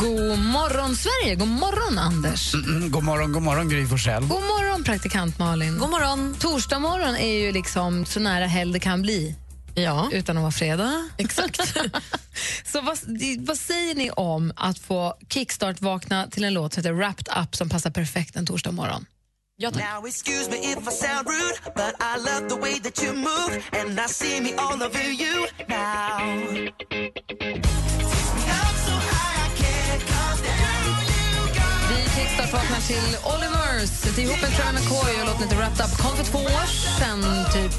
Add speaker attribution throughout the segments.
Speaker 1: God morgon, Sverige! God morgon, Anders!
Speaker 2: God morgon, god morgon Gry Forssell.
Speaker 1: God morgon, praktikant Malin!
Speaker 3: God morgon.
Speaker 1: Torsdag morgon är ju liksom så nära helg det kan bli
Speaker 3: Ja,
Speaker 1: utan att vara fredag.
Speaker 3: exakt.
Speaker 1: Så vad, vad säger ni om att få kickstart-vakna till en låt som heter Wrapped Up som passar perfekt en torsdag morgon?
Speaker 4: Now excuse me if I sound rude, but I love the way that you move, and I see me all over you now. I'm so high I can't come down.
Speaker 1: Vi kickstart-vaknar till Olly Murs ihop med Trevor McCoy och låten heter Wrapped Up. Kom för två år sedan, typ.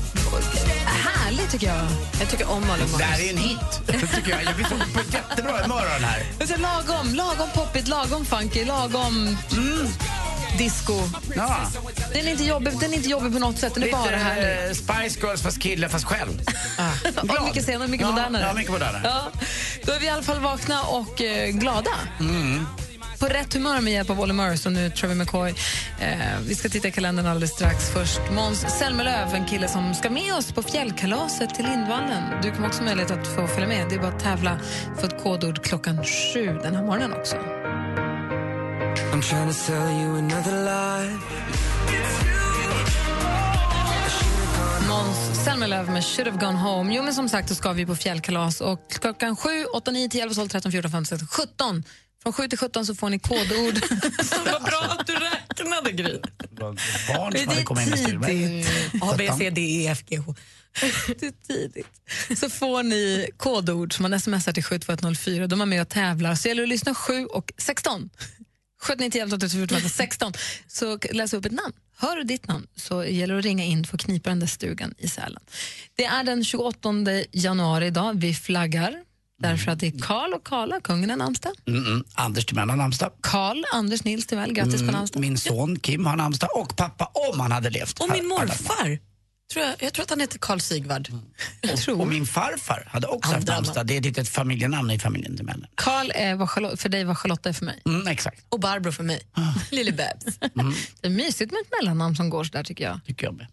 Speaker 1: Härligt, tycker jag.
Speaker 3: Jag tycker om Malin
Speaker 2: Det här
Speaker 3: Mons.
Speaker 2: är en hit, tycker jag. Jag blir så på jättebra humör av den här.
Speaker 1: Men så lagom, lagom poppigt, lagom funky, lagom mm, disco.
Speaker 2: Ja.
Speaker 1: Den är, inte jobbig, den är inte jobbig på något sätt, den är bara härlig.
Speaker 2: Lite eh, Spice Girls fast kille fast själv.
Speaker 1: Och mycket senare, mycket
Speaker 2: ja,
Speaker 1: modernare.
Speaker 2: Ja, mycket modernare.
Speaker 1: Ja. Då är vi i alla fall vakna och eh, glada.
Speaker 2: Mm.
Speaker 1: På rätt humör med hjälp av Olle Murray och nu Trevor McCoy. Eh, vi ska titta i kalendern alldeles strax. Först Måns Zelmerlöw, en kille som ska med oss på fjällkalaset till Lindvallen. Du kommer också ha möjlighet att få följa med. Det är bara att tävla för ett kodord klockan sju den här morgonen också.
Speaker 4: I'm trying to sell you another lie.
Speaker 1: Måns Zelmerlöw med Should have gone home. Jo, men som sagt, då ska vi på fjällkalas. Och klockan 7, 8, 9, 10, 11, 12, 13, 14, 15, 16, 17. Från 7 till 17 så får ni kodord.
Speaker 3: Vad bra att du räknade, Gry.
Speaker 2: Det var Barn som hade kommit in med styrmedel.
Speaker 3: A, B, C, D, E, F, G, H.
Speaker 1: Det är tidigt. Så får ni kodord som man smsar till 72104. De är med och tävlar. Så gäller det att lyssna 7 och 16. 79 16. Så läs upp ett namn. Hör du ditt namn så gäller det att ringa in för att knipa den där stugan i Sälen. Det är den 28 januari idag. Vi flaggar därför att det är Karl och Karla, kungen av namnsdag.
Speaker 2: Mm, mm. Anders Timell har namnsdag.
Speaker 1: Karl, Anders Nils Timell, grattis
Speaker 2: Mm.
Speaker 1: på namnsdag.
Speaker 2: Min son Kim har namnsdag och pappa om han hade levt.
Speaker 3: Och min
Speaker 2: har- hade
Speaker 3: morfar. Tror jag, jag tror att han heter Carl Sigvard.
Speaker 2: namnsdag. Och, och min farfar hade också haft
Speaker 3: Andra
Speaker 2: namnsdag. Det är ett litet familjenamn i familjen Timell.
Speaker 1: Karl är vad Charlotte, för dig vad Charlotta är för mig.
Speaker 2: Mm, exakt,
Speaker 3: Och Barbro för mig. Lille Babs.
Speaker 1: Det är mysigt med ett mellannamn som går så där tycker jag.
Speaker 2: tycker jag med.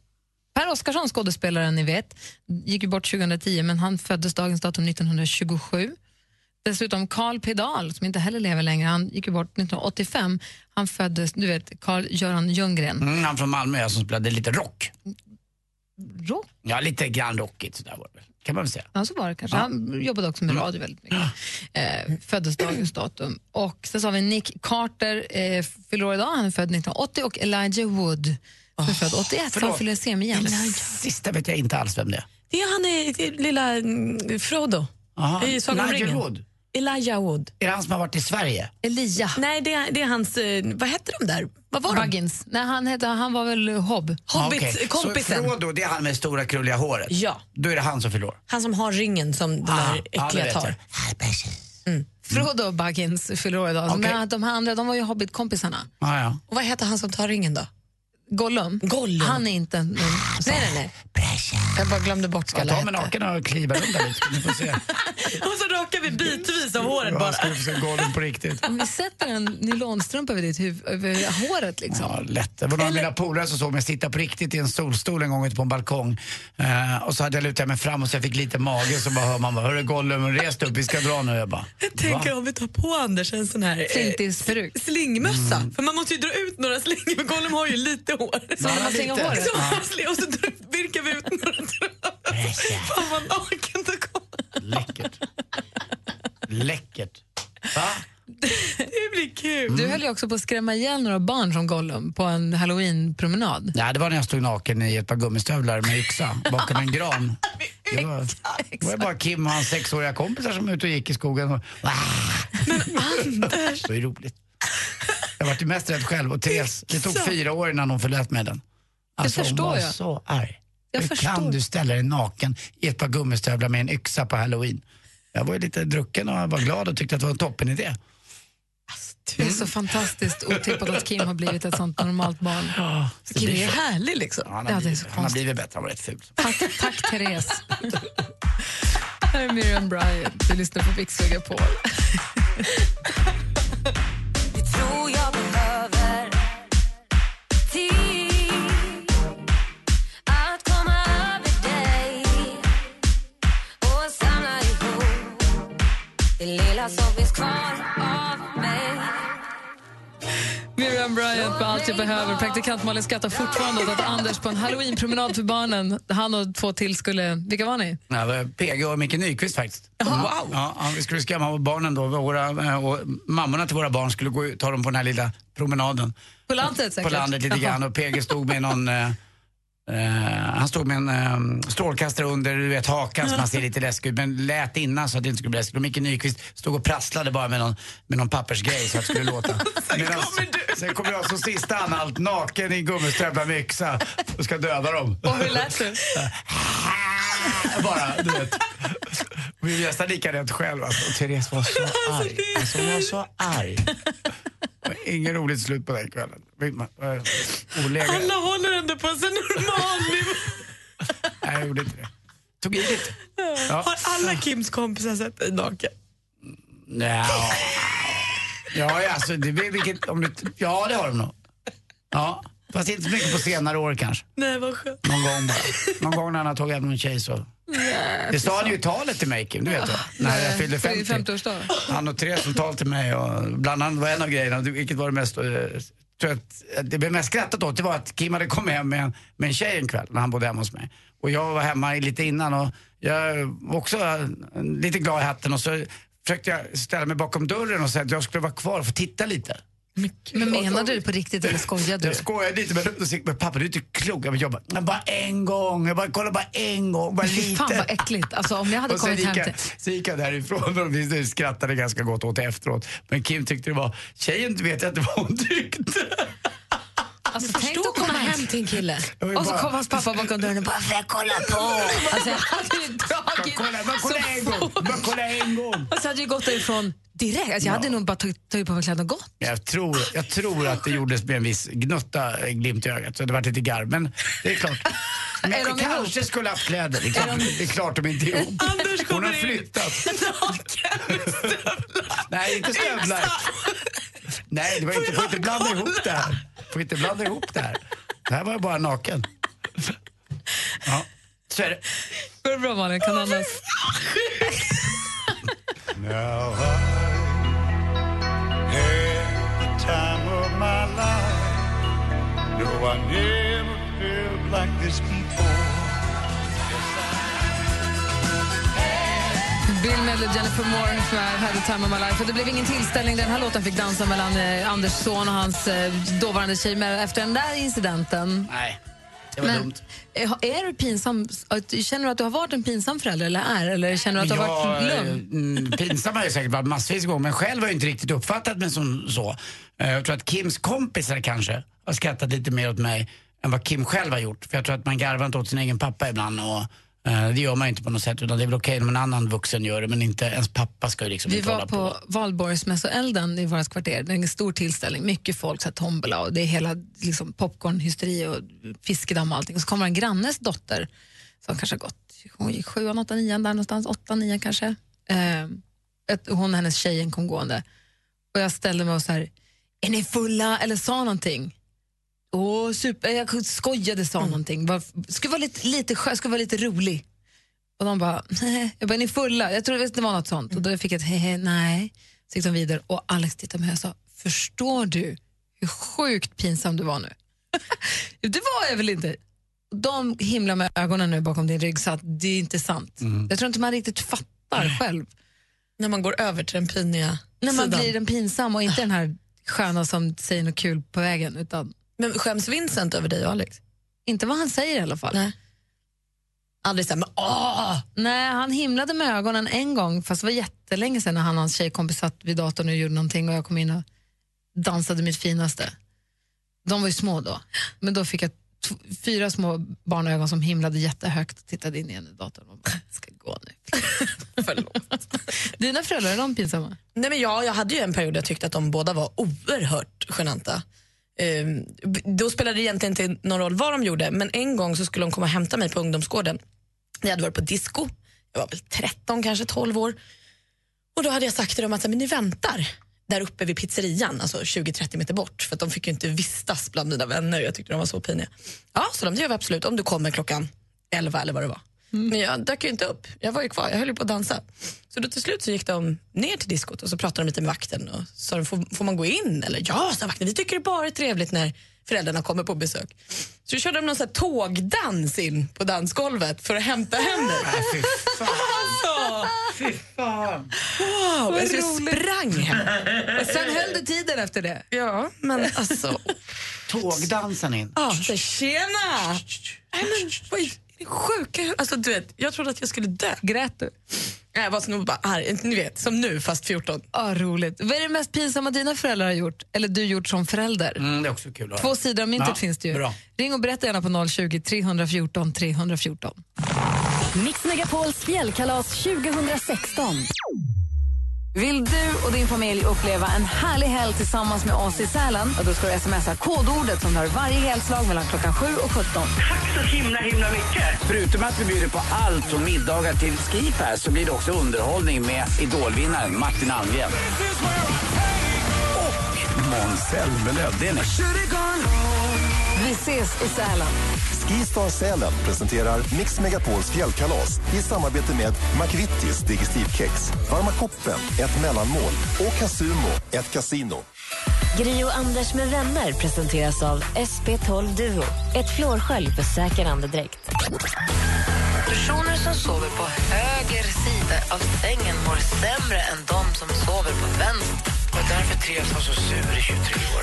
Speaker 1: Per Oscarsson, skådespelaren ni vet, gick ju bort 2010 men han föddes dagens datum 1927. Dessutom Carl Pedal, som inte heller lever längre, han gick ju bort 1985. Han föddes, du vet, Carl-Göran Ljunggren.
Speaker 2: Mm, han från Malmö som spelade lite rock.
Speaker 1: Rock,
Speaker 2: Ja, lite grann rockigt sådär var det väl. Kan man väl säga.
Speaker 1: ja, så var det kanske. Han jobbade också med radio väldigt mycket. Eh, föddes dagens datum. Och sen så har vi Nick Carter, eh, fyller år idag, han är född 1980 och Elijah Wood, som är född 81, så han
Speaker 2: förlåt.
Speaker 1: fyller semien.
Speaker 2: Sista vet jag inte alls vem det är.
Speaker 3: Det är han i det är lilla mm, Frodo.
Speaker 2: Aha.
Speaker 3: I Sagan om
Speaker 2: Nigel
Speaker 3: ringen.
Speaker 2: Wood.
Speaker 3: Elijah Wood.
Speaker 2: Är det han som har varit i Sverige?
Speaker 1: Elia.
Speaker 3: Nej, det är, det är hans... eh, Vad hette de där? Vad var de?
Speaker 1: Buggins. Nej, han, hette, han var väl Hobb.
Speaker 2: Så
Speaker 3: Hobbit-kompisen.
Speaker 2: Frodo, det är han med det stora krulliga håret?
Speaker 3: Ja.
Speaker 2: Då är det han som förlorar.
Speaker 3: Han som har ringen som den
Speaker 2: Ah,
Speaker 3: där
Speaker 2: ja, det
Speaker 3: äckliga
Speaker 2: vet
Speaker 3: tar.
Speaker 2: jag.
Speaker 1: Frodo Baggins fyller år idag.
Speaker 2: Okej.
Speaker 1: Men de här andra de var ju hobbitkompisarna.
Speaker 2: Ah, ja.
Speaker 3: Och vad heter han som tar ringen då?
Speaker 1: Gollum,
Speaker 3: Gollum. Ah,
Speaker 1: han är inte en...
Speaker 3: Nej, nej, nej. Jag bara glömde bort
Speaker 2: Ja,
Speaker 3: skallen.
Speaker 2: ta mig naken och kliva undan lite. Ni får se.
Speaker 3: Och så rakar vi bitvis av håret
Speaker 2: Bra
Speaker 3: bara.
Speaker 2: ska golven på riktigt.
Speaker 1: Om vi sätter en nylonstrumpa över ditt huvud, över håret liksom.
Speaker 3: Eh,
Speaker 2: Ja, lätt. Det var några av mina polare som såg mig sitta på riktigt i en solstol en gång ute på en balkong. Eh, och så hade jag lutat mig fram och så jag fick lite mage så bara hör man bara, hörru Gollum, res dig upp, vi ska dra nu. Jag bara,
Speaker 3: Jag tänker
Speaker 2: va?
Speaker 3: om vi tar på Anders en sån här eh,
Speaker 1: Flintisperuk.
Speaker 3: slingmössa.
Speaker 2: Mm.
Speaker 3: För man måste ju dra ut några slingor, för Gollum har ju lite hår.
Speaker 2: Bara
Speaker 1: man slänger
Speaker 2: lite.
Speaker 1: håret.
Speaker 3: Så han sli- och så drar- virkar vi ut några trådar. Fan vad naken du kom.
Speaker 2: Läckert. Läckert. Va?
Speaker 3: Det blir kul.
Speaker 1: Du höll ju också på att skrämma ihjäl några barn från Gollum på en halloweenpromenad.
Speaker 2: Nej, det var när jag stod naken i ett par gummistövlar med yxa bakom en gran. Det var, det var bara Kim och hans sexåriga kompisar som var ute och gick i skogen. Och, Men Anders! Det är roligt. Jag var ju mest rädd själv och Therese, det tog fyra år innan hon förlät mig den. Alltså,
Speaker 1: förstår
Speaker 2: hon var
Speaker 1: jag.
Speaker 2: så arg.
Speaker 1: Jag
Speaker 2: Hur
Speaker 1: förstår.
Speaker 2: kan du ställa dig naken i ett par gummistövlar med en yxa på halloween? Jag var ju lite drucken och var glad och tyckte att det var en toppen idé.
Speaker 1: Det är så fantastiskt otippat att Kim har blivit ett sånt normalt barn. Kim är ju härlig liksom.
Speaker 2: Han
Speaker 1: Ja, det är
Speaker 2: har, blivit,
Speaker 1: så
Speaker 2: han har
Speaker 1: konstigt.
Speaker 2: blivit bättre, han var rätt ful.
Speaker 1: Tack, tack Therese. Här är Miriam Bryant. Du lyssnar på Mix på.
Speaker 5: tror jag behöver tid att komma över dig och samla ihop det lilla som finns kvar av mig
Speaker 1: Miriam Bryant på Allt jag behöver. Praktikant Malin skrattar fortfarande åt att Anders på en halloweenpromenad för barnen, han och två till skulle... Vilka var ni?
Speaker 2: Ja, det var PG och Micke Nyqvist faktiskt. Wow! Ja, ja, vi skulle skrämma barnen då. Våra, eh, och mammorna till våra barn skulle gå, ut- ta dem på den här lilla promenaden.
Speaker 1: På landet säkert?
Speaker 2: På landet lite grann och PG stod med någon... Eh, eh, han stod med en eh, strålkastare under du vet, hakan så man ser lite läskig ut men lät innan så att det inte skulle bli läskigt. Och Micke Nyqvist stod och prasslade bara med någon, med någon pappersgrej så att det skulle låta. sen, kommer du. sen kommer jag som sista anhalt naken i gummistövlar med yxa och ska döda dem.
Speaker 1: Och hur lät det?
Speaker 2: Ah! Bara, du vet. Vi är nästan lika rädd själv. Alltså. Och Therese var så arg. Alltså, hon var så arg. Det var Ingen roligt slut på den kvällen. Vi- man- eh, Oläge.
Speaker 3: Alla håller ändå på en sån normal nivå.
Speaker 2: Nej, jag gjorde inte det. Tog i lite. Ja.
Speaker 3: Har alla Kims kompisar sett dig naken?
Speaker 2: Nja. Ja, alltså, det, blir vilket, om du, ja, det har de nog. Ja. Fast inte så mycket på senare år kanske.
Speaker 3: Nej, vad skönt.
Speaker 2: Någon gång bara. Någon gång när han har tagit hem någon tjej så. Det sa han ju i talet till mig, Kim, du vet va? När jag fyllde
Speaker 1: För det är
Speaker 2: 50.
Speaker 1: 50-årsdag.
Speaker 2: Han och Therese som talade till mig och bland annat var en av grejerna, vilket var det mest, eh, tror jag att, det blev mest skrattat åt, det var att Kim hade kommit hem med en, med en tjej en kväll när han bodde hemma hos mig. Och jag var hemma lite innan och jag var också eh, lite glad i hatten och så försökte jag ställa mig bakom dörren och säga att jag skulle vara kvar och få titta lite.
Speaker 1: Men menade du på riktigt eller skojade du?
Speaker 2: Jag skojade lite men då gick men pappa du är inte klok. Jag bara, jag bara, "Men bara en gång, jag bara kolla bara en gång, bara
Speaker 1: Fy
Speaker 2: lite.
Speaker 1: fan vad äckligt. Alltså, om jag hade
Speaker 2: Och sen
Speaker 1: kommit
Speaker 2: gick
Speaker 1: hem till...
Speaker 2: jag, så gick jag därifrån och vi skrattade ganska gott åt det efteråt. Men Kim tyckte det var, tjejen vet jag inte vad hon tyckte.
Speaker 1: Alltså, tänk att komma hem till en kille
Speaker 2: Jag vill
Speaker 1: och så
Speaker 2: bara-
Speaker 1: kommer hans pappa bakom dörren och bara “får jag kolla på?” Alltså jag hade ju
Speaker 2: Bara
Speaker 1: dragit
Speaker 2: kolla, bara kolla en
Speaker 1: så
Speaker 2: gång,
Speaker 1: fort.
Speaker 2: bara kolla en gång.
Speaker 1: Och så hade jag gått därifrån direkt. Alltså, jag hade nog bara tagit, tagit på mig kläderna och gått.
Speaker 2: Jag tror, jag tror att det gjordes med en viss gnutta eh, glimt i ögat, så det var lite garv. Men det är klart. Men
Speaker 1: Är de
Speaker 2: kanske skulle haft kläder. Det är klart, det är klart de inte är ihop.
Speaker 3: Anders
Speaker 2: Hon har
Speaker 3: kommer in
Speaker 2: flyttat.
Speaker 3: naken med stövlar.
Speaker 2: Nej, inte stövlar. Nej, det var inte, får inte blanda ihop det här. Får inte blanda ihop det här. Det här var ju bara naken. Ja, så är det.
Speaker 1: Går det bra Malin? Kan du andas? Bill Medley och Jennifer Moore med Had the time of my life. Och det blev ingen tillställning där den här låten fick dansa mellan eh, Anders son och hans eh, dåvarande tjej med- efter den där incidenten.
Speaker 2: Nej, det var dumt.
Speaker 1: eh, är du pinsam? att- Känner du att du har varit en pinsam förälder eller är? Eller känner du att du har varit
Speaker 2: Ja,
Speaker 1: lugn?
Speaker 2: mm, Pinsam har jag säkert varit massvis gånger, men själv har jag inte riktigt uppfattat mig som så. Eh, Jag tror att Kims kompisar kanske har skrattat lite mer åt mig än vad Kim själv har gjort. För jag tror att man garvar inte åt sin egen pappa ibland. Och eh, det gör man inte på något sätt, utan det är väl okej när någon annan vuxen gör det, men inte ens pappa ska ju liksom
Speaker 1: Vi
Speaker 2: inte
Speaker 1: var
Speaker 2: hålla på.
Speaker 1: på valborgsmässoelden i vårt kvarter. Det är en stor tillställning, mycket folk, så här tombola och det är hela liksom, popcornhysteri och fiskedamm och allting. Och så kommer en grannes dotter som kanske har gått, hon gick sjuan, åttan, nian där någonstans, åttan, nian kanske. Eh, ett, hon och hennes tjejen kom gående. Och jag ställde mig och så här, är ni fulla? Eller sa någonting. Åh, super. Jag skojade, sa
Speaker 2: Mm.
Speaker 1: någonting. Var, skulle vara lite, lite, skö- skulle vara lite rolig. Och de bara, nej. jag bara, är ni fulla? Jag trodde visst det var något sånt. Och då fick jag ett hehe, nej. Så gick de vidare och Alex tittade på mig och sa, förstår du hur sjukt pinsam du var nu? det var jag väl inte. Och De himlar med ögonen nu bakom din rygg så att det är inte sant.
Speaker 3: Mm.
Speaker 1: Jag tror inte man riktigt fattar själv.
Speaker 3: När man går över till den piniga
Speaker 1: När man
Speaker 3: sidan.
Speaker 1: blir den pinsam och inte den här sköna som säger något kul på vägen. Utan
Speaker 3: Men skäms Vincent över dig och Alex?
Speaker 1: inte vad han säger i alla fall.
Speaker 3: Nej. Aldrig såhär, men åh!
Speaker 1: Nej, han himlade med ögonen en gång, fast det var jättelänge sedan när han och hans tjejkompis satt vid datorn och gjorde någonting och jag kom in och dansade mitt finaste. De var ju små då, men då fick jag t- fyra små barnögon som himlade jättehögt och tittade in igen i datorn. Och bara, "Jag ska gå nu. Dina föräldrar, är de pinsamma?
Speaker 3: Nej, men jag, jag hade ju en period jag tyckte att de båda var oerhört genanta. Ehm, då spelade det egentligen inte någon roll vad de gjorde, men en gång så skulle de komma och hämta mig på ungdomsgården. Jag hade varit på disco, jag var väl 13, kanske 12 år. Och då hade jag sagt till dem att så här, men ni väntar där uppe vid pizzerian, alltså 20-30 meter bort, för att de fick ju inte vistas bland mina vänner. Jag tyckte de var så piniga. Ja, så de, det gör vi absolut, om du kommer klockan 11 eller vad det var. Men jag dök ju inte upp, jag var ju kvar, jag höll ju på att dansa. Så då till slut så gick de ner till diskot och så pratade de lite med vakten och sa de, får, får man gå in? Eller ja, sa vakten, vi tycker det bara är trevligt när föräldrarna kommer på besök. Så då körde de någon så här tågdans in på dansgolvet för att hämta hem mig.
Speaker 2: Nej, fy fan.
Speaker 3: Så.
Speaker 2: Fy fan.
Speaker 3: Wow, alltså jag sprang hem.
Speaker 1: Sen höll du tiden efter det.
Speaker 3: Ja, men alltså...
Speaker 2: Tågdansen in.
Speaker 3: Ja, så tjena! Nej, men vad är det sjuka? Alltså, du vet, jag trodde att jag skulle dö.
Speaker 1: Grät du?
Speaker 3: Nej, Jag var så nog bara arg, ni vet, som nu fast 14.
Speaker 1: Ah, roligt. Vad är det mest pinsamma dina föräldrar har gjort, eller du gjort som förälder?
Speaker 2: Mm, det är också kul att
Speaker 1: Två
Speaker 2: höra.
Speaker 1: sidor av myntet
Speaker 2: Ja,
Speaker 1: finns det ju.
Speaker 2: bra.
Speaker 1: Ring och berätta gärna på 020 314 314.
Speaker 6: Mix Megapols fjällkalas 2016.
Speaker 7: Vill du och din familj uppleva en härlig helg tillsammans med oss i Sälen? Ja, Då ska du smsa kodordet som hör varje helslag mellan klockan 7 och 17.
Speaker 8: Förutom att vi bjuder på allt från middagar till skipass så blir det också underhållning med idolvinnaren Martin Almgren. Och Måns Zelmerlöw. Det är ni.
Speaker 7: Vi ses i Sälen.
Speaker 9: Skistar Sälen presenterar Mix Megapols fjällkalas i samarbete med McVittys Digestivkex, Varma koppen, ett mellanmål och Casumo, ett kasino.
Speaker 6: Gri och Anders med vänner presenteras av SP12 Duo. Ett flårskölj för säker andedräkt.
Speaker 7: Personer som sover på höger sida av sängen mår sämre än de som sover på vänster.
Speaker 8: Och därför trivs han så sur i 23 år.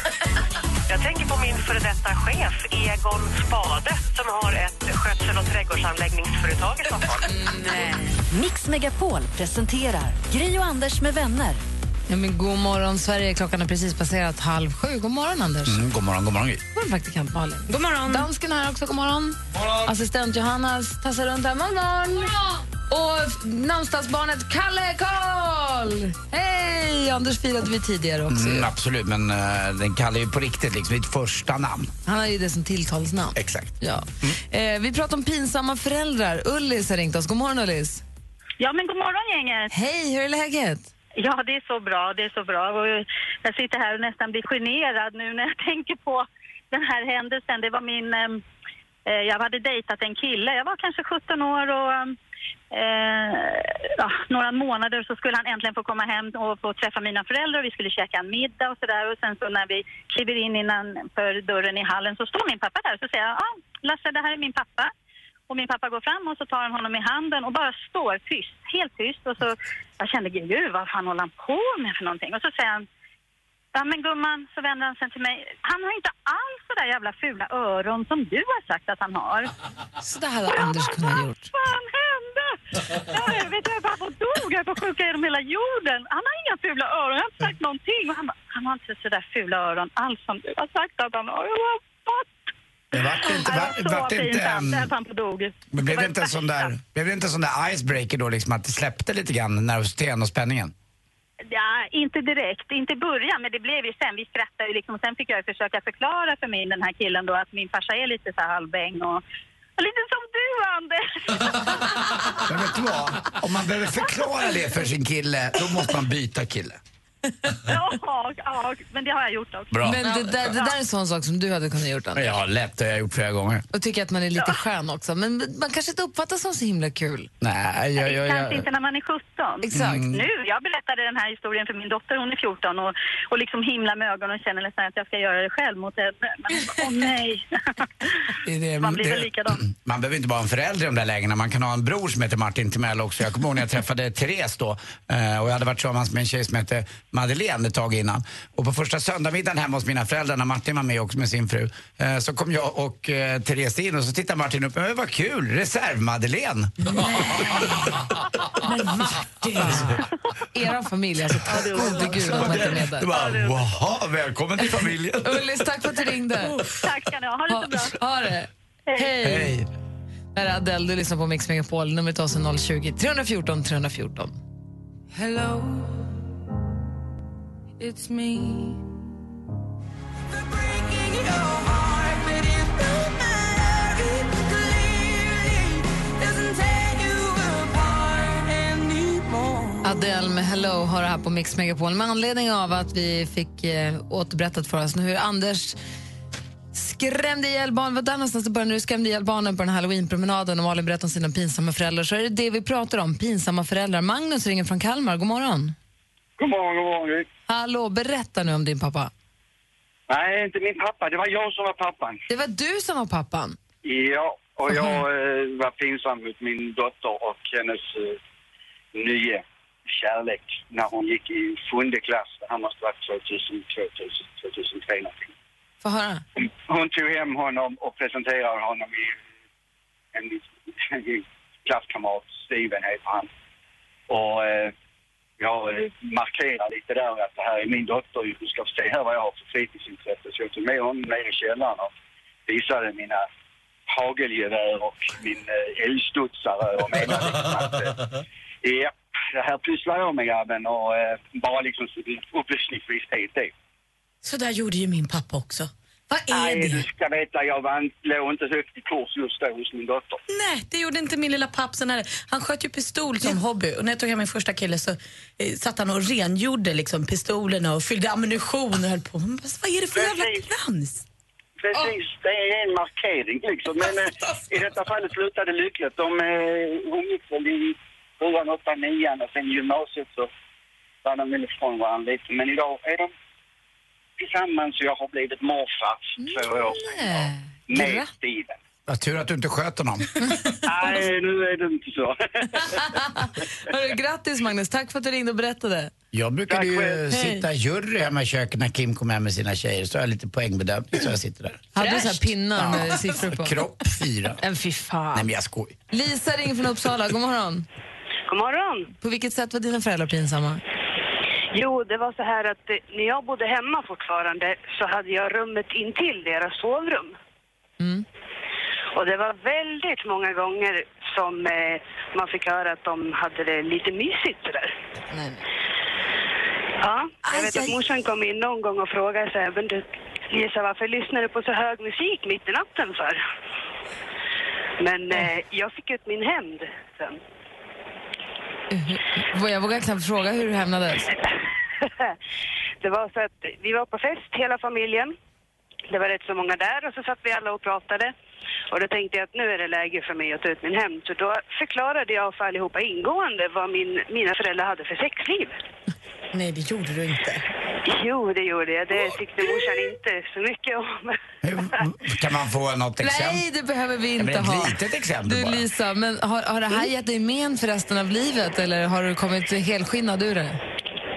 Speaker 4: Jag tänker på min före detta chef Egon Spade som har ett skötsel och trädgårdsanläggningsföretag i Stockholm.
Speaker 6: Mix Megapol presenterar Gri och Anders med vänner.
Speaker 1: Ja, men god morgon, Sverige. Klockan har precis passerat halv sju. God morgon, Anders.
Speaker 2: Mm, god morgon, god morgon. Gry.
Speaker 1: God morgon, praktikant Malin.
Speaker 3: God morgon.
Speaker 1: Dansken här också. God morgon. Assistent Johannas tassar runt här. God morgon. Och f- namnsdagsbarnet Kalle Karl! Hej! Anders firade vi tidigare också.
Speaker 2: Mm, absolut, men eh, den kallar ju på riktigt liksom mitt första namn.
Speaker 1: Han har ju det som tilltalsnamn.
Speaker 2: Exakt.
Speaker 1: Ja. Eh, vi pratar om pinsamma föräldrar. Ullis har ringt oss. God morgon, Ullis.
Speaker 7: Ja, men god morgon, gänget.
Speaker 1: Hej, hur är läget?
Speaker 7: Ja, det är så bra. Det är så bra. Och jag sitter här och nästan blir generad nu när jag tänker på den här händelsen. Det var min... ehm, Eh, jag hade dejtat en kille. Jag var kanske 17 år och... ehm, Eh, ja, några månader så skulle han äntligen få komma hem och få träffa mina föräldrar. Vi skulle käka en middag och sådär. Och sen så när vi kliver in innanför dörren i hallen så står min pappa där. Så säger jag, ah, Lasse det här är min pappa. Och min pappa går fram och så tar han honom i handen och bara står tyst, helt tyst. Och så, jag kände, gud vad fan håller han på med för någonting? Och så säger han, ja men gumman, så vänder han sig till mig. Han har inte alls så där jävla fula öron som du har sagt att han har.
Speaker 1: Så det här hade Anders kunnat ha gjort.
Speaker 7: Vad fan hände? Ja, jag vet inte, pappa dog. Jag får sjuka genom hela jorden. Han har inga fula öron. Jag har inte sagt någonting. Och han, bara, han har inte så där fula öron alls som du har sagt att han har. Jag bara, "What?"
Speaker 2: Det vart inte...
Speaker 7: Nej,
Speaker 2: Var,
Speaker 7: det var
Speaker 2: vart
Speaker 7: så
Speaker 2: inte
Speaker 7: pinsamt
Speaker 2: ehm,
Speaker 7: att han dog.
Speaker 2: men blev
Speaker 7: var
Speaker 2: det inte en sån där, blev det inte en sån där icebreaker då liksom att det släppte lite grann nervositeten och spänningen?
Speaker 7: Ja, inte direkt. Inte i början, men det blev ju sen. Vi skrattade ju liksom. Och Sen fick jag ju försöka förklara för min, den här killen då att min farsa är lite så här halvbäng och och lite som du, Anders.
Speaker 2: Men vet du vad? Om man behöver förklara det för sin kille, då måste man byta kille.
Speaker 7: ja, ja, men det har jag gjort också.
Speaker 2: Bra.
Speaker 1: Men det där, det där är en sån sak som du hade kunnat ha gjort, Anders.
Speaker 2: Ja, lätt. Det har jag gjort flera gånger.
Speaker 1: Och tycker att man är lite skön också. Men man kanske inte uppfattas som så himla kul.
Speaker 2: Nej, jag... jag,
Speaker 7: Kanske
Speaker 2: jag
Speaker 7: inte när man är 17.
Speaker 1: Exakt.
Speaker 7: Nu, jag berättade den här historien för min dotter, hon är 14 och, och liksom himlar med ögonen och känner nästan att jag ska göra det själv mot henne. Men åh nej.
Speaker 2: det- det-
Speaker 7: man blir väl
Speaker 2: det-
Speaker 7: likadan.
Speaker 2: Man behöver inte bara ha en förälder i de där lägena. Man kan ha en bror som heter Martin Timell också. Jag kommer ihåg när jag träffade Therese då. eh, Och jag hade varit tillsammans med en tjej som hette Madeleine ett tag innan. Och på första söndagmiddagen hemma hos mina föräldrar när Martin var med också med sin fru eh, så kom jag och eh, Therese in och så tittade Martin upp. Men vad kul, reserv-Madeleine.
Speaker 1: Men Martin! Er familj, alltså. Tack gode gud att man inte är med
Speaker 2: Du
Speaker 1: där.
Speaker 2: bara, jaha, välkommen till familjen.
Speaker 1: Ullis, tack för att du ringde.
Speaker 10: Tack ska ni ha. Ha det så bra.
Speaker 1: Ha det. Hej.
Speaker 2: Hej.
Speaker 1: Här är Adele, du lyssnar på Mix Megapol. Numret till oss är 020 314 314.
Speaker 11: Hello, it's me.
Speaker 1: Adele med Hello har det här på Mix Megapol med anledning av att vi fick eh, återberättat för oss nu hur Anders skrämde ihjäl barn. Vad där någonstans det började när du skrämde ihjäl barnen på den här halloweenpromenaden och Malin berättade om sina pinsamma föräldrar. Så är det det vi pratar om, pinsamma föräldrar. Magnus ringer från Kalmar, god morgon.
Speaker 12: God morgon, god morgon.
Speaker 1: Hallå, berätta nu om din pappa.
Speaker 12: Nej, inte min pappa. Det var jag som var pappan.
Speaker 1: Det var du som var pappan.
Speaker 12: Ja, och jag eh, var pinsam mot min dotter och hennes eh, nya kärlek när hon gick i sjunde klass. Det här måste ha varit 2000, 2000, 2003 någonting.
Speaker 1: Få höra.
Speaker 12: Hon tog hem honom och presenterade honom i en, en klasskamrat, Steven heter han. Och eh, jag eh, markerade lite där att det här är min dotter, du ska få se här vad jag har för fritidsintresse. Så jag tog med honom ner i källaren och visade mina hagelgevär och min eh, älgstudsare och menade liksom att eh, ja, det här pysslar jag med grabben och eh, bara liksom upplysningsvis helt det.
Speaker 13: Så där gjorde ju min pappa också. Vad är
Speaker 12: Nej,
Speaker 13: det?
Speaker 12: du ska veta, jag vann, låg inte högt i kurs just då hos min dotter.
Speaker 13: Nej, det gjorde inte min lilla pappsen heller. Han sköt ju pistol som hobby och när jag tog hem min första kille så eh, satt han och rengjorde liksom pistolerna och fyllde ammunition och höll på. Man Bara, vad är det för jävla trams?
Speaker 12: Precis,
Speaker 3: Ah.
Speaker 12: det är en markering liksom. Men eh, i detta fallet slutade det lyckligt. De eh, umgicks väl i sjuan, åttan, nian och sen i gymnasiet så var de väl ifrån varandra lite. Men idag är de tillsammans och jag har blivit morfar två år
Speaker 3: Mm.
Speaker 1: Nej.
Speaker 12: med Steven.
Speaker 2: Vad tur att du inte sköt honom.
Speaker 12: Nej, nu är det inte så.
Speaker 1: Hörru, grattis Magnus, tack för att du ringde och berättade.
Speaker 2: Jag brukade
Speaker 1: Tack
Speaker 2: ju
Speaker 1: själv.
Speaker 2: sitta i jury hemma i köket när Kim kom hem med sina tjejer. Så har jag lite poängbedömning så jag sitter där.
Speaker 1: Hade du så här pinnar med
Speaker 2: Ja.
Speaker 1: siffror på?
Speaker 2: Kropp fyra.
Speaker 1: En fy fan.
Speaker 2: Nej men jag skojar.
Speaker 1: Lisa ringer från Uppsala. God morgon.
Speaker 3: God morgon.
Speaker 1: På vilket sätt var dina föräldrar pinsamma?
Speaker 3: Jo, det var så här att eh, när jag bodde hemma fortfarande så hade jag rummet intill deras sovrum.
Speaker 1: Mm.
Speaker 3: Och det var väldigt många gånger som eh, man fick höra att de hade det lite mysigt sådär.
Speaker 1: Nej.
Speaker 3: Ja, jag vet att morsan kom in någon gång och frågade så här, men du Lisa, varför lyssnar du på så hög musik mitt i natten för? Men eh, jag fick ut min hämnd sen.
Speaker 1: Mm, Jag vågar knappt fråga hur du hämnades.
Speaker 3: det var så att vi var på fest, hela familjen. Det var rätt så många där och så satt vi alla och pratade. Och då tänkte jag att nu är det läge för mig att ta ut min hämnd. Så då förklarade jag för allihopa ingående vad min, mina föräldrar hade för sexliv.
Speaker 13: Nej, det gjorde du inte.
Speaker 3: Jo, det gjorde jag. Det tyckte morsan inte så mycket om.
Speaker 2: Kan man få något exempel?
Speaker 1: liksom. Nej, det behöver vi
Speaker 2: Ja, men
Speaker 1: inte
Speaker 2: ett
Speaker 1: ha.
Speaker 2: litet exempel
Speaker 1: du,
Speaker 2: bara.
Speaker 1: Lisa, men har, har det här gett dig men för resten av livet eller har du kommit helskinnad ur det?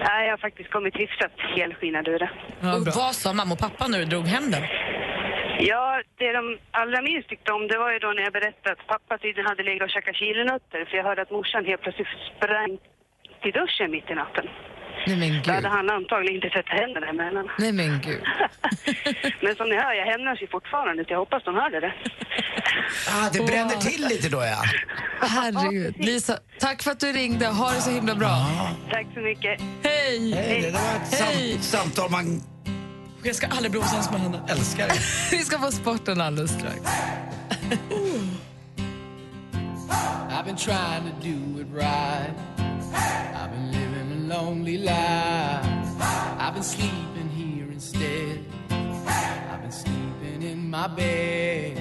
Speaker 3: Nej, jag har faktiskt kommit hyfsat helskinnad ur det.
Speaker 13: och vad sa mamma och pappa när du drog hem den?
Speaker 3: Ja, det de allra minst tyckte om det var ju då när jag berättade att pappa tydligen hade legat och käkat chilinötter för jag hörde att morsan helt plötsligt sprang till duschen mitt i natten.
Speaker 1: Nej men
Speaker 3: Då
Speaker 1: gud.
Speaker 3: hade han antagligen inte tvättat händerna emellan.
Speaker 1: Nej men gud.
Speaker 3: Men som ni hör, jag hämnas ju fortfarande så jag hoppas de hörde det.
Speaker 2: Ah, det bränner till lite då ja.
Speaker 1: Herregud. Lisa, tack för att du ringde. Ha det så himla bra.
Speaker 3: Tack så mycket.
Speaker 1: Hej!
Speaker 2: Hej. Det där var ett sam- samtal man...
Speaker 13: Jag ska aldrig bli osams med henne.
Speaker 2: Älskar det.
Speaker 1: Vi ska få sporten alldeles strax.
Speaker 11: I've been trying to do it right. I've been living a lonely life. I've been sleeping here instead. I've been sleeping in my bed.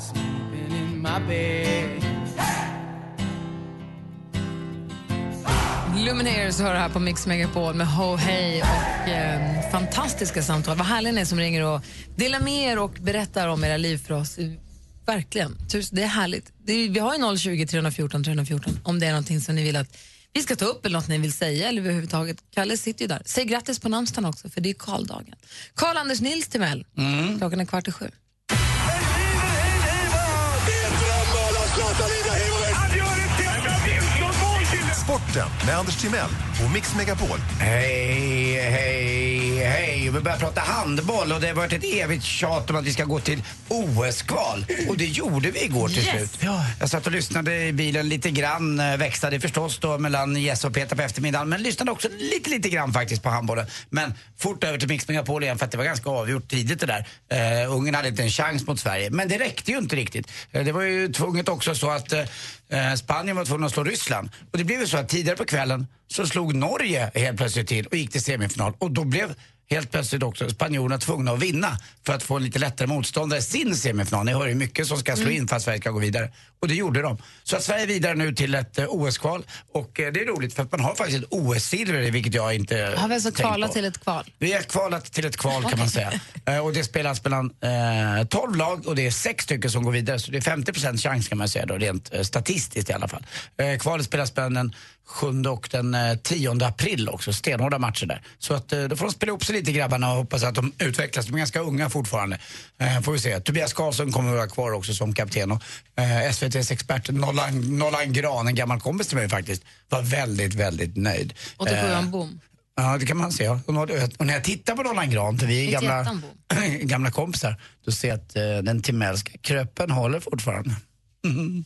Speaker 11: Sleeping in my bed.
Speaker 1: Lumineers hör här på Mix Megapol med Ho Hey och eh, fantastiska samtal. Vad härliga ni är som ringer och delar med er och berättar om era liv för oss. Verkligen. Tusen- Det är härligt. Det är, vi har ju 020 314 314 om det är någonting som ni vill att vi ska ta upp eller något ni vill säga eller överhuvudtaget. Kalle sitter ju där. Säg grattis på namnsdagen också för det är Karldagen. Karl Anders Nils Timell. Klockan är kvart i sju.
Speaker 9: Sporten med Anders Timell och Mix Megapol.
Speaker 2: Hej, hej, hej. Vi börjar prata handboll och det har varit ett evigt tjat om att vi ska gå till OS-kval. Och det gjorde vi igår till
Speaker 14: Yes.
Speaker 2: slut. Jag satt och lyssnade i bilen lite grann, eh, växlade förstås då mellan Jesse och Peter på eftermiddagen. Men lyssnade också lite, lite grann faktiskt på handbollen. Men fort över till Mix Megapol igen för att det var ganska avgjort tidigt det där. Uh, Ungern hade inte en chans mot Sverige. Men det räckte ju inte riktigt. Eh, det var ju tvunget också så att eh, Spanien var tvungna att slå Ryssland. Och det blev ju så att tidigare på kvällen så slog Norge helt plötsligt till och gick till semifinal. Och då blev helt plötsligt också spanjorerna tvungna att vinna för att få en lite lättare motståndare i sin semifinal. Ni hör ju mycket som ska slå
Speaker 1: Mm.
Speaker 2: in för att Sverige ska gå vidare. Och det gjorde de. Så att Sverige är vidare nu till ett eh, OS-kval. Och eh, det är roligt för att man har faktiskt ett OS-silver i vilket jag inte eh,
Speaker 1: Har vi alltså
Speaker 2: tänkt
Speaker 1: kvalat
Speaker 2: på.
Speaker 1: till ett kval?
Speaker 2: Vi har kvalat till ett kval kan man säga. Eh, och det spelas mellan eh, 12 lag och det är sex stycken som går vidare. Så det är 50 chans kan man säga då, rent eh, statistiskt i alla fall. Eh, kvalet spelas mellan den 7 och den eh, 10 april också. Stenhårda matcher där. Så att, eh, då får de spela upp sig lite grabbarna och hoppas att de utvecklas. De är ganska unga fortfarande. Eh, får vi se. Tobias Karlsson kommer att vara kvar också som kapten. Och, eh, SVTs expert Nollan, Nollan Gran, en gammal kompis till mig faktiskt, var väldigt, väldigt nöjd.
Speaker 1: 87
Speaker 2: Eh,
Speaker 1: bom.
Speaker 2: Ja, det kan man se. Ja. Hon har det rätt. Och när jag tittar på Roland Grant, vi är
Speaker 1: Inte
Speaker 2: gamla,
Speaker 1: jättan, Bo.
Speaker 2: gamla kompisar, då ser jag att eh, den timelska kröpen håller fortfarande. Mm.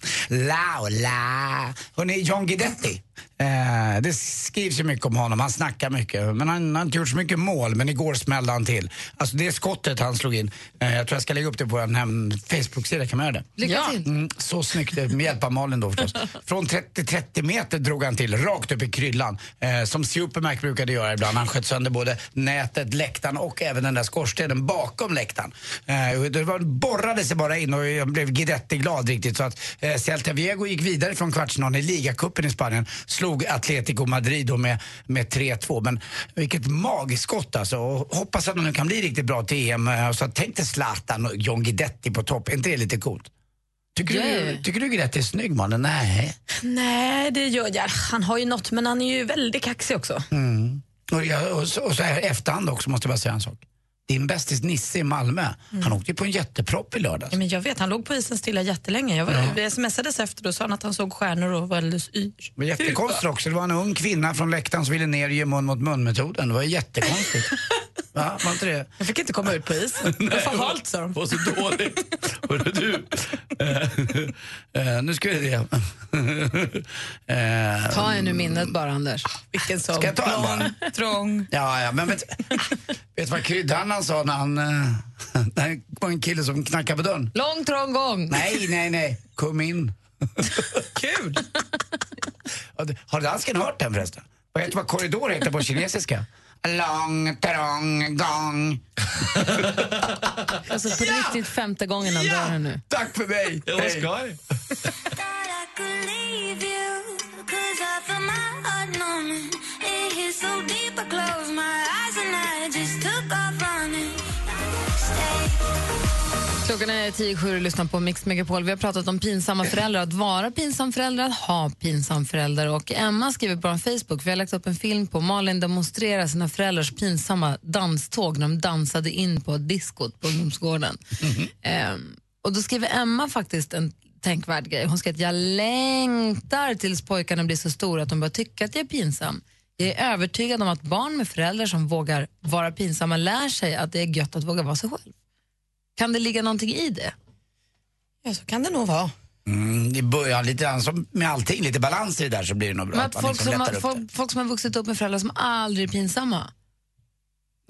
Speaker 2: Laula! Hörrni, John Guidetti. Eh, det skrivs ju mycket om honom, han snackar mycket. Men han har inte gjort så mycket mål, men igår smällde han till. Alltså det skottet han slog in, eh, jag tror jag ska lägga upp det på vår hem- Facebook-sida, kan man göra det?
Speaker 1: Lycka till.
Speaker 2: Mm, så snyggt, med hjälp av Malin då förstås. Från 30-30 meter drog han till, rakt upp i kryllan. Eh, som Supermac brukade göra ibland. Han sköt sönder både nätet, läktaren och även den där skorstenen bakom läktaren. Eh, och det var, borrade sig bara in och jag blev Guidetti glad riktigt. Så att eh, Celta Viego gick vidare från kvartsfinalen i ligacupen i Spanien. Slog Atletico Madrid då med, med 3-2. Men vilket magskott alltså. Och hoppas att de nu kan bli riktigt bra till EM. Eh, Så tänk dig Zlatan och John Guidetti på topp. Är inte det lite coolt? Tycker, du,
Speaker 3: Yeah.
Speaker 2: tycker du Greta är snygg mannen? Nej.
Speaker 3: Nej, Eh, det gör jag. Han har ju något, men han är ju väldigt kaxig också.
Speaker 2: Mm. Och, jag, och, så, och så här i efterhand också måste jag bara säga en sak. Din bästis Nisse i Malmö, han åkte ju på en jättepropp i lördags.
Speaker 3: Mm. Ja, men jag vet, han låg på isen stilla jättelänge. Jag var,
Speaker 2: Ja.
Speaker 3: Vi smsades efter och sa han att han såg stjärnor och var alldeles yr.
Speaker 2: Det var jättekonstigt också. Det var en ung kvinna från läktaren som ville ner och ge mun mot mun-metoden. Det var jättekonstigt. Va? Var inte det?
Speaker 3: Jag fick inte komma ut på isen. Det var för halt, sa de.
Speaker 2: var så dåligt. Hörru du. Eh, eh, nu ska vi se. Eh,
Speaker 1: Ta en ur minnet bara, Anders.
Speaker 3: Vilken sån.
Speaker 2: Ska jag ta en bara?
Speaker 3: Trång.
Speaker 2: Ja, ja, men vet, vet du vad kryddhandlaren sa när han... eh, Det här var en kille som knackade på dörren.
Speaker 1: Lång trång gång.
Speaker 2: Nej, nej, nej. Kom in. Kul! Ja, det- Har dansken hört den förresten? Vad heter vad korridor heter på kinesiska? Lång, trång, gång.
Speaker 1: Alltså på riktigt femte gången han drar den nu.
Speaker 2: Tack för mig!
Speaker 1: Det var
Speaker 2: Hej.
Speaker 1: skoj. Klockan är tio i sju och lyssnar på Mix Megapol. Vi har pratat om pinsamma föräldrar, att vara pinsam förälder, att ha pinsam förälder. Och Emma skriver på vår Facebook, vi har lagt upp en film på Malin demonstrerar sina föräldrars pinsamma danståg när de dansade in på diskot på ungdomsgården. Ehm, och då skriver Emma faktiskt en tänkvärd grej. Hon skriver att jag längtar tills pojkarna blir så stora att de börjar tycka att jag är pinsam. Jag är övertygad om att barn med föräldrar som vågar vara pinsamma lär sig att det är gött att våga vara sig själv. Kan det ligga någonting i det?
Speaker 3: Ja, så kan det nog vara.
Speaker 2: Mm, I början, lite grann som med allting, lite balans i det där så blir det nog bra.
Speaker 1: Men
Speaker 2: att
Speaker 1: att
Speaker 2: man
Speaker 1: folk,
Speaker 2: liksom
Speaker 1: som
Speaker 2: lättar
Speaker 1: har,
Speaker 2: upp det.
Speaker 1: folk, folk som har vuxit upp med föräldrar som aldrig är pinsamma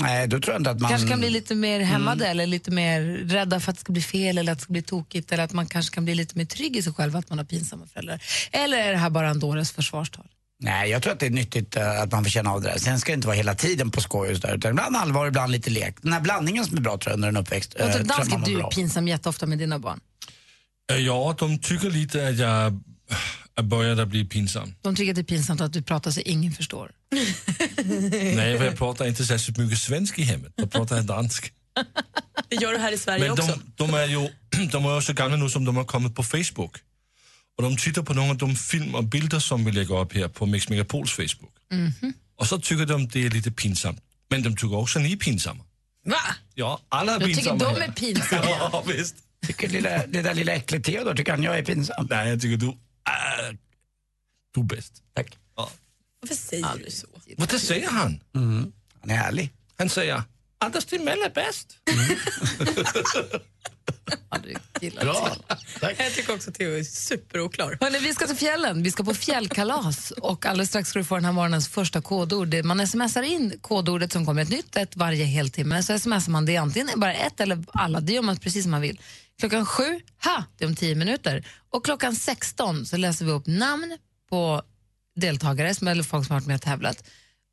Speaker 2: Nej, då tror jag inte att man...
Speaker 1: kanske kan bli lite mer
Speaker 2: Mm.
Speaker 1: hämmade eller lite mer rädda för att det ska bli fel eller att det ska bli tokigt eller att man kanske kan bli lite mer trygg i sig själv att man har pinsamma föräldrar. Eller är det här bara en dåres försvarstal?
Speaker 2: Nej, jag tror att det är nyttigt eh, att man får känna av det där. Sen ska det inte vara hela tiden på skoj och sådär, utan ibland allvar, ibland lite lek. Den här blandningen som är bra tror jag under en uppväxt. eh,
Speaker 1: Jag tror
Speaker 2: tror jag man
Speaker 1: dansken,
Speaker 2: mår
Speaker 1: du är
Speaker 2: bra av.
Speaker 1: pinsam jätteofta med dina barn.
Speaker 15: Eh, Ja, de tycker lite att jag äh, började bli pinsam.
Speaker 1: De tycker att det är pinsamt att du pratar så ingen förstår.
Speaker 15: Nej, för jag pratar inte särskilt mycket svenska i hemmet. Jag pratar dansk.
Speaker 3: Det gör du här i Sverige
Speaker 15: Men de,
Speaker 3: också.
Speaker 15: de är ju de är ju så gamla nu som de har kommit på Facebook.
Speaker 3: Och de tittar på några av de film och bilder som vi lägger upp här på Mix Megapols Facebook.
Speaker 1: Mhm.
Speaker 3: Och så tycker de det är lite pinsamt. Men de tycker också ni är pinsamma.
Speaker 1: Va?
Speaker 3: Ja, alla är
Speaker 1: Jag tycker
Speaker 3: pinsamma.
Speaker 1: de
Speaker 3: här.
Speaker 1: är pinsamma.
Speaker 3: ja, visst.
Speaker 2: Tycker lilla, det där lilla äcklet Theodor, tycker han jag är pinsam?
Speaker 3: Nej, jag tycker du... Äh, du är bäst.
Speaker 2: Tack.
Speaker 3: Ja.
Speaker 16: Varför säger du så?
Speaker 3: Vad det säger han?
Speaker 2: Han är härlig.
Speaker 3: Han säger Anders Timell är bäst.
Speaker 2: Bra.
Speaker 16: Jag tycker också att Theo är superoklar.
Speaker 1: Hörrni, vi ska till fjällen. Vi ska på fjällkalas. Och alldeles strax ska du få den här morgonens första kodord. Det- Man smsar in kodordet som kommer ett nytt ett varje heltimme. Så smsar man det antingen bara ett eller alla. Det gör man precis som man vill. Klockan sju, ha, det är om tio minuter. Och klockan 16 så läser vi upp namn på deltagare, som- eller folk som har varit med och tävlat.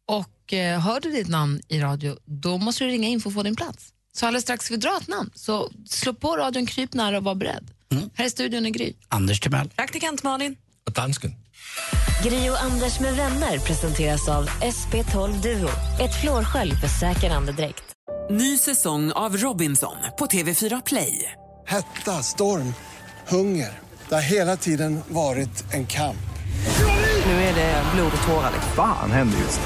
Speaker 1: Och eh, hör du ditt namn i radio, då måste du ringa in för att få din plats. Så alldeles strax ska vi dra ett namn. Så slå på radion, kryp nära och var beredd. Här i studion är Gry.
Speaker 2: Anders Timell.
Speaker 16: Praktikant Malin.
Speaker 3: Och dansken.
Speaker 6: Gri och Anders med vänner presenteras av SP12 Duo. Ett flårskölj för säker andedräkt.
Speaker 11: Ny säsong av Robinson på TV4 Play.
Speaker 17: Hetta, storm, hunger. Det har hela tiden varit en kamp.
Speaker 18: Nu är det blod och tårar.
Speaker 19: Fan händer just nu.